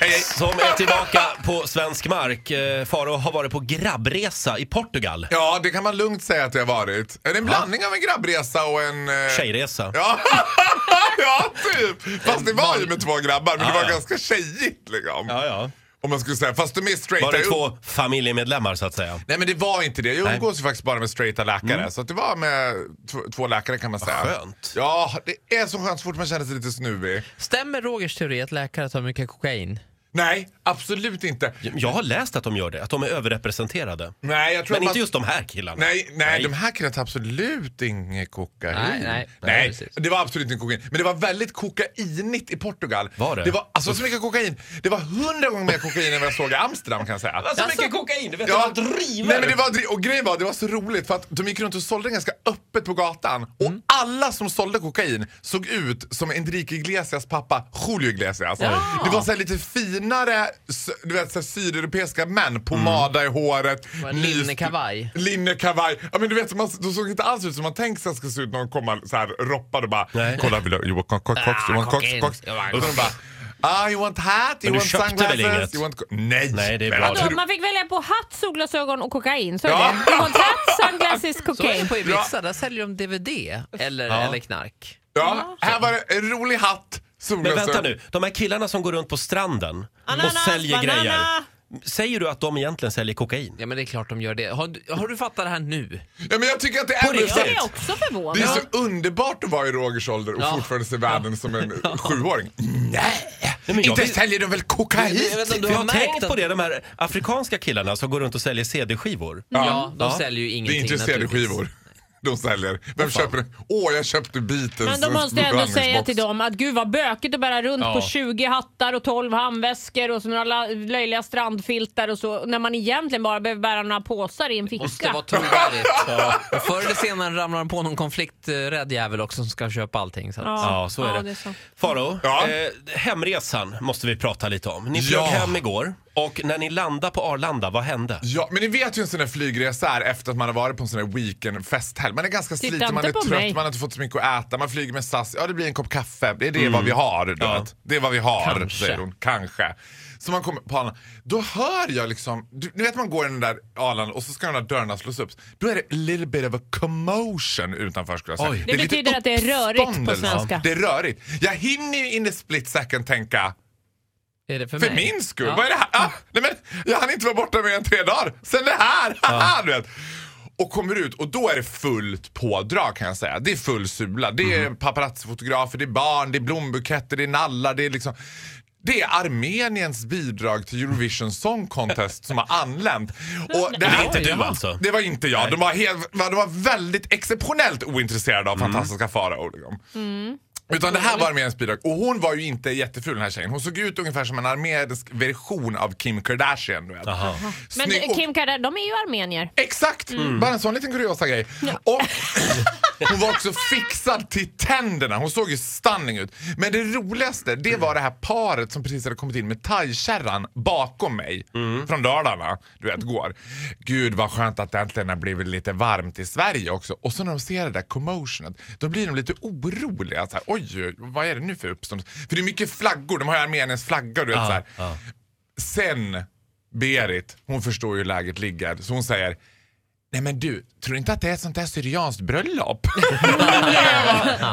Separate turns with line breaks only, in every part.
Hej, hej.
Som är tillbaka på svensk mark. Eh, Farao har varit på grabbresa i Portugal.
Ja, det kan man lugnt säga att det har varit. Är det en blandning av en grabbresa och en... eh,
Tjejresa.
Ja. ja, typ. Fast det var ju med två grabbar, men
Ja,
det var
ja.
ganska tjejigt liksom.
Ja, ja.
Om man skulle säga, fast de är straighta.
Var det
Jag-
två familjemedlemmar så att säga?
Nej men det var inte det. Jag
Nej. Mm.
umgås ju faktiskt bara med straighta läkare. Så att det var med tv- två läkare kan man säga.
skönt.
Ja, det är så skönt så fort man känner sig lite snuvig.
Stämmer Rogers teori att läkare tar mycket kokain?
Nej, absolut inte.
Jag har läst att de gör det, att de är överrepresenterade.
Nej, jag tror
Men
man-
inte just de här killarna.
Nej, nej, de här killarna tar absolut inget kokain.
Nej, nej.
nej,
Nej, precis.
det var absolut inte kokain. Men det var väldigt kokainigt i Portugal.
Var det?
det var, alltså så mycket kokain. Det var hundra gånger mer kokain än vad jag såg i Amsterdam kan jag säga.
Alltså, mycket kokain, du vet ja. de driver!
Nej, men det var, dri- och grejen var, det var så roligt för att de gick runt och sålde ganska öppet på gatan och
Mm.
alla som sålde kokain såg ut som Enrique Iglesias pappa Julio Iglesias. Det var så här lite finare s- du vet, så här, sydeuropeiska män, pomada i håret.
Mm. Var
ny-
linnekavaj.
Linnekavaj. Ja, men du vet, man, de såg inte alls ut som man tänkt sig att ska se ut när de kommer så här roppade och bara
Nej. Ah,
kolla, vill du, you want cox, cox, you want cox,
kokain.
cox.
Jag bara-
Och så de bara, ah you want hat, you
du
want
köpte väl
sunglasses,
inget?
you want... co-" Nej!
Nej, det är
men
bra.
alltså, jag
Vadå,
tror-
Då, man fick välja på hatt, solglasögon och kokain. Så är
Ja.
det. Du har hatt, sunglasses,
Så är
kokain.
det på Ibiza, där säljer de DVD eller, eller knark.
Ja, här var det en rolig hatt,
Men
solglasögon.
vänta nu, de här killarna som går runt på stranden och säljer grejer. Säger du att de egentligen säljer kokain?
Ja men det är klart de gör det. Har, du- har du fattat det här nu?
Ja, men jag tycker att det
På
är,
riktigt?
det
Jag är
det
också
är
förvånad.
så underbart att vara i Rogers ålder och
Ja.
fortfarande se världen som en sjuåring. Nej,
men jag
inte
vill-
säljer de väl kokain?
Jag vet inte om du
Jag
har
har
märkt
tänkt
att-
på det, de här afrikanska killarna som går runt och säljer CD-skivor.
Ja, de
Ja.
säljer ju
Det är
ingenting
inte
naturligtvis.
CD-skivor de säljer. Vem köper det? Åh, jag köpte Beatles
Men då måste jag ändå
förhandlingsbox.
säga till dem att gud vad bökigt att bära runt
Ja.
på 20 hattar och 12 handväskor och så några la- löjliga strandfiltar och så när man egentligen bara behöver bära några påsar i en
Måste vara
ficka.
trovärdigt. Och Förr eller senare ramlar de på någon konflikträdd jävel också som ska köpa allting. Så. att-
Ja, så är det.
det är så.
Faro,
Ja.
eh, hemresan måste vi prata lite om. Ni flög
Ja.
hem igår och när ni landade på Arlanda, vad hände?
Ja, men ni vet ju hur en sån här flygresa är efter att man har varit på en sån här weekendfesthelg. Man är ganska
Titta
sliten, man
inte
är
på
trött,
mig.
man har inte fått så mycket att äta, man flyger med SAS. Ja, det blir en kopp kaffe. Det är det vad vi har. Du
Mm. Ja.
vet. Det är vad vi har,
Kanske.
säger hon. Kanske. Så man kommer på Arlanda. Då hör jag liksom, du, ni vet man går i den där Arlanda och så ska de där dörrarna slås upp. Då är det a little bit of a commotion utanför skulle jag säga.
Oj.
Det
är lite
betyder att det är rörigt på
uppståndelse.
svenska.
Det är rörigt. Jag hinner ju in i split second tänka
Är det för,
för
mig?
min skull?
Ja.
Vad är det här? Ah, nej men, jag hann inte vara borta mer än tre dagar. Sen det här! Haha, du vet. Och kommer ut och då är det fullt pådrag kan jag säga. Det är full sula. Det är
Mhm.
paparazzifotografer, det är barn, det är blombuketter, det är nallar, det är liksom... Det är Armeniens bidrag till Eurovision Song Contest som har anlänt. Och det,
är
här-
inte du alltså?
Det var inte jag. De var, helt, de var väldigt exceptionellt ointresserade
Mm.
av fantastiska farao. Liksom. Utan det här var arméns bidrag. Och hon var ju inte jätteful den här tjejen. Hon såg ut ungefär som en armenisk version av Kim Kardashian. Du vet.
Aha.
Men eh,
Snygg och-
Kim Kardashian, de är ju armenier.
Exakt! Bara en sån liten kuriosa grej. Och hon var också fixad till tänderna. Hon såg ju stunning ut. Men det roligaste det var det här paret som precis hade kommit in med thaikärran bakom mig. Från Dalarna. Du vet, går. Gud vad skönt att det äntligen har blivit lite varmt i Sverige också. Och så när de ser det där commotionet, då blir de lite oroliga. Så här, Oj, vad är det nu för uppståndelse? För det är mycket flaggor. De har ju Armeniens flagga. Du vet, så här. Sen Berit, hon förstår ju hur läget ligger, så hon säger Nej men du, tror du inte att det är ett sånt där syrianskt bröllop?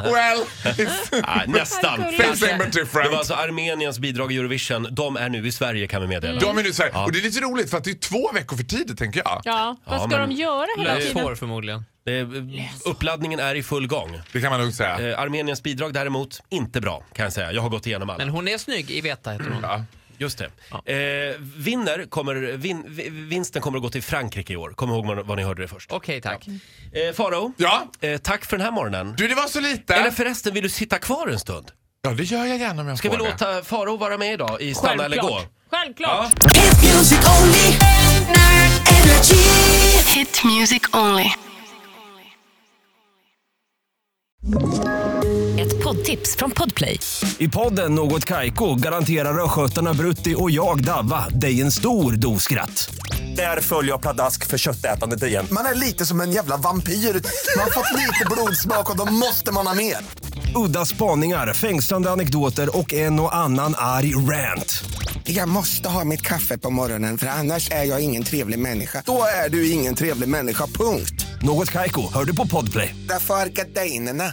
well, it's
Ah, nästan.
same but
Det var
different.
alltså Armeniens bidrag i Eurovision. De är nu i Sverige kan vi meddela.
Mm.
De är nu så här, och det är lite roligt för att det är två veckor för tidigt tänker jag.
Ja, vad
Ja,
ska
men-
de göra hela
Lös
tiden?
hår förmodligen.
Det är, eh, uppladdningen är i full gång.
Det kan man lugnt säga.
Eh, Armeniens bidrag däremot, inte bra kan jag säga. Jag har gått igenom alla.
Men hon är snygg, Iveta heter hon.
Ja.
Just det. Eh, vinner kommer, vin, vi- vinsten kommer att gå till Frankrike i år. Kom ihåg vad ni hörde det först.
Okej tack.
Eh, Faro,
Ja.
eh, tack för den här morgonen.
Du det var så lite.
Eller förresten, vill du sitta kvar en stund?
Ja det gör jag gärna om jag
Ska vi
får det.
låta Faro vara med idag i Stanna eller gå?
Självklart. Självklart.
Hit music only. Nerd energy. Hit music only.
Ett poddtips från Podplay.
I podden Något Kaiko garanterar östgötarna Brutti och jag, Davva, dig en stor dos skratt. Där följer jag pladask för köttätandet igen.
Man är lite som en jävla vampyr. Man har fått lite blodsmak och då måste man ha mer.
Udda spaningar, fängslande anekdoter och en och annan arg rant.
Jag måste ha mitt kaffe på morgonen för annars är jag ingen trevlig människa.
Då är du ingen trevlig människa, punkt.
Något Kaiko, hör du på Podplay.
Därför arkadeinerna.